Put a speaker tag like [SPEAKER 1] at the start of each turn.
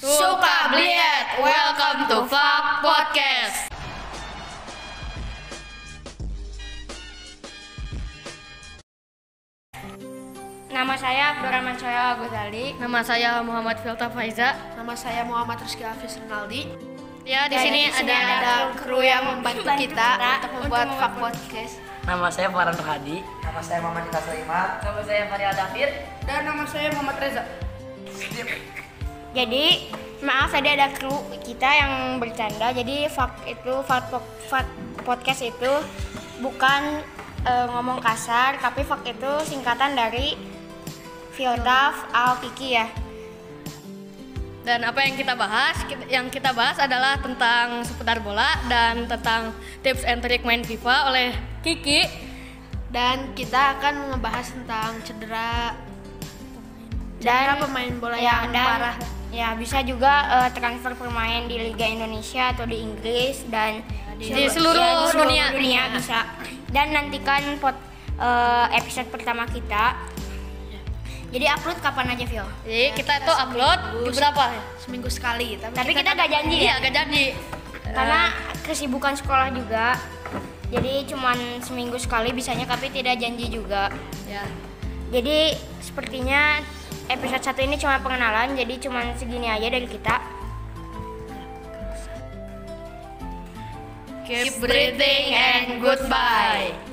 [SPEAKER 1] Suka Bliet, welcome to Fuck Podcast.
[SPEAKER 2] Nama saya Abdurrahman Soya Ghazali.
[SPEAKER 1] Nama saya Muhammad Filta Faiza.
[SPEAKER 3] Nama saya Muhammad Rizky Hafiz Rinaldi.
[SPEAKER 1] Ya, di sini ada
[SPEAKER 3] Ada kru yang membantu kita untuk membuat Fak Podcast.
[SPEAKER 4] Nama saya Farhan Rohadi.
[SPEAKER 5] Nama saya Muhammad Nika Sulaiman.
[SPEAKER 4] Nama saya Maria Dafir.
[SPEAKER 3] Dan nama saya Muhammad Reza.
[SPEAKER 2] Jadi, maaf tadi ada kru kita yang bercanda. Jadi, fuck itu fuck, po- fuck podcast itu bukan eh, ngomong kasar, tapi fuck itu singkatan dari Fiodaf Al Kiki ya.
[SPEAKER 1] dan apa yang kita bahas? Kita- Yang kita bahas adalah tentang seputar bola dan tentang tips and trick main FIFA oleh Kiki.
[SPEAKER 3] Dan kita akan ngebahas tentang cedera cedera pemain bola
[SPEAKER 2] Ya,
[SPEAKER 3] yang
[SPEAKER 2] dan-
[SPEAKER 3] parah.
[SPEAKER 2] Ya, bisa juga eh, transfer pemain di Liga Indonesia atau di Inggris dan
[SPEAKER 1] Di seluruh dunia.
[SPEAKER 2] bisa. Dan nantikan pot eh, episode pertama kita. Jadi upload kapan aja, Vio?
[SPEAKER 1] Jadi kita itu upload di berapa? ya?
[SPEAKER 3] Seminggu sekali, tapi,
[SPEAKER 2] Tapi kita gak janji
[SPEAKER 1] Iya,
[SPEAKER 2] ya,
[SPEAKER 1] gak jadi. Iya.
[SPEAKER 2] karena kesibukan sekolah juga. Jadi cuman seminggu sekali bisanya, tapi tidak janji juga.
[SPEAKER 1] Ya.
[SPEAKER 2] Jadi sepertinya episode satu ini cuma pengenalan, jadi cuman segini aja dari kita.
[SPEAKER 1] Keep breathing and goodbye.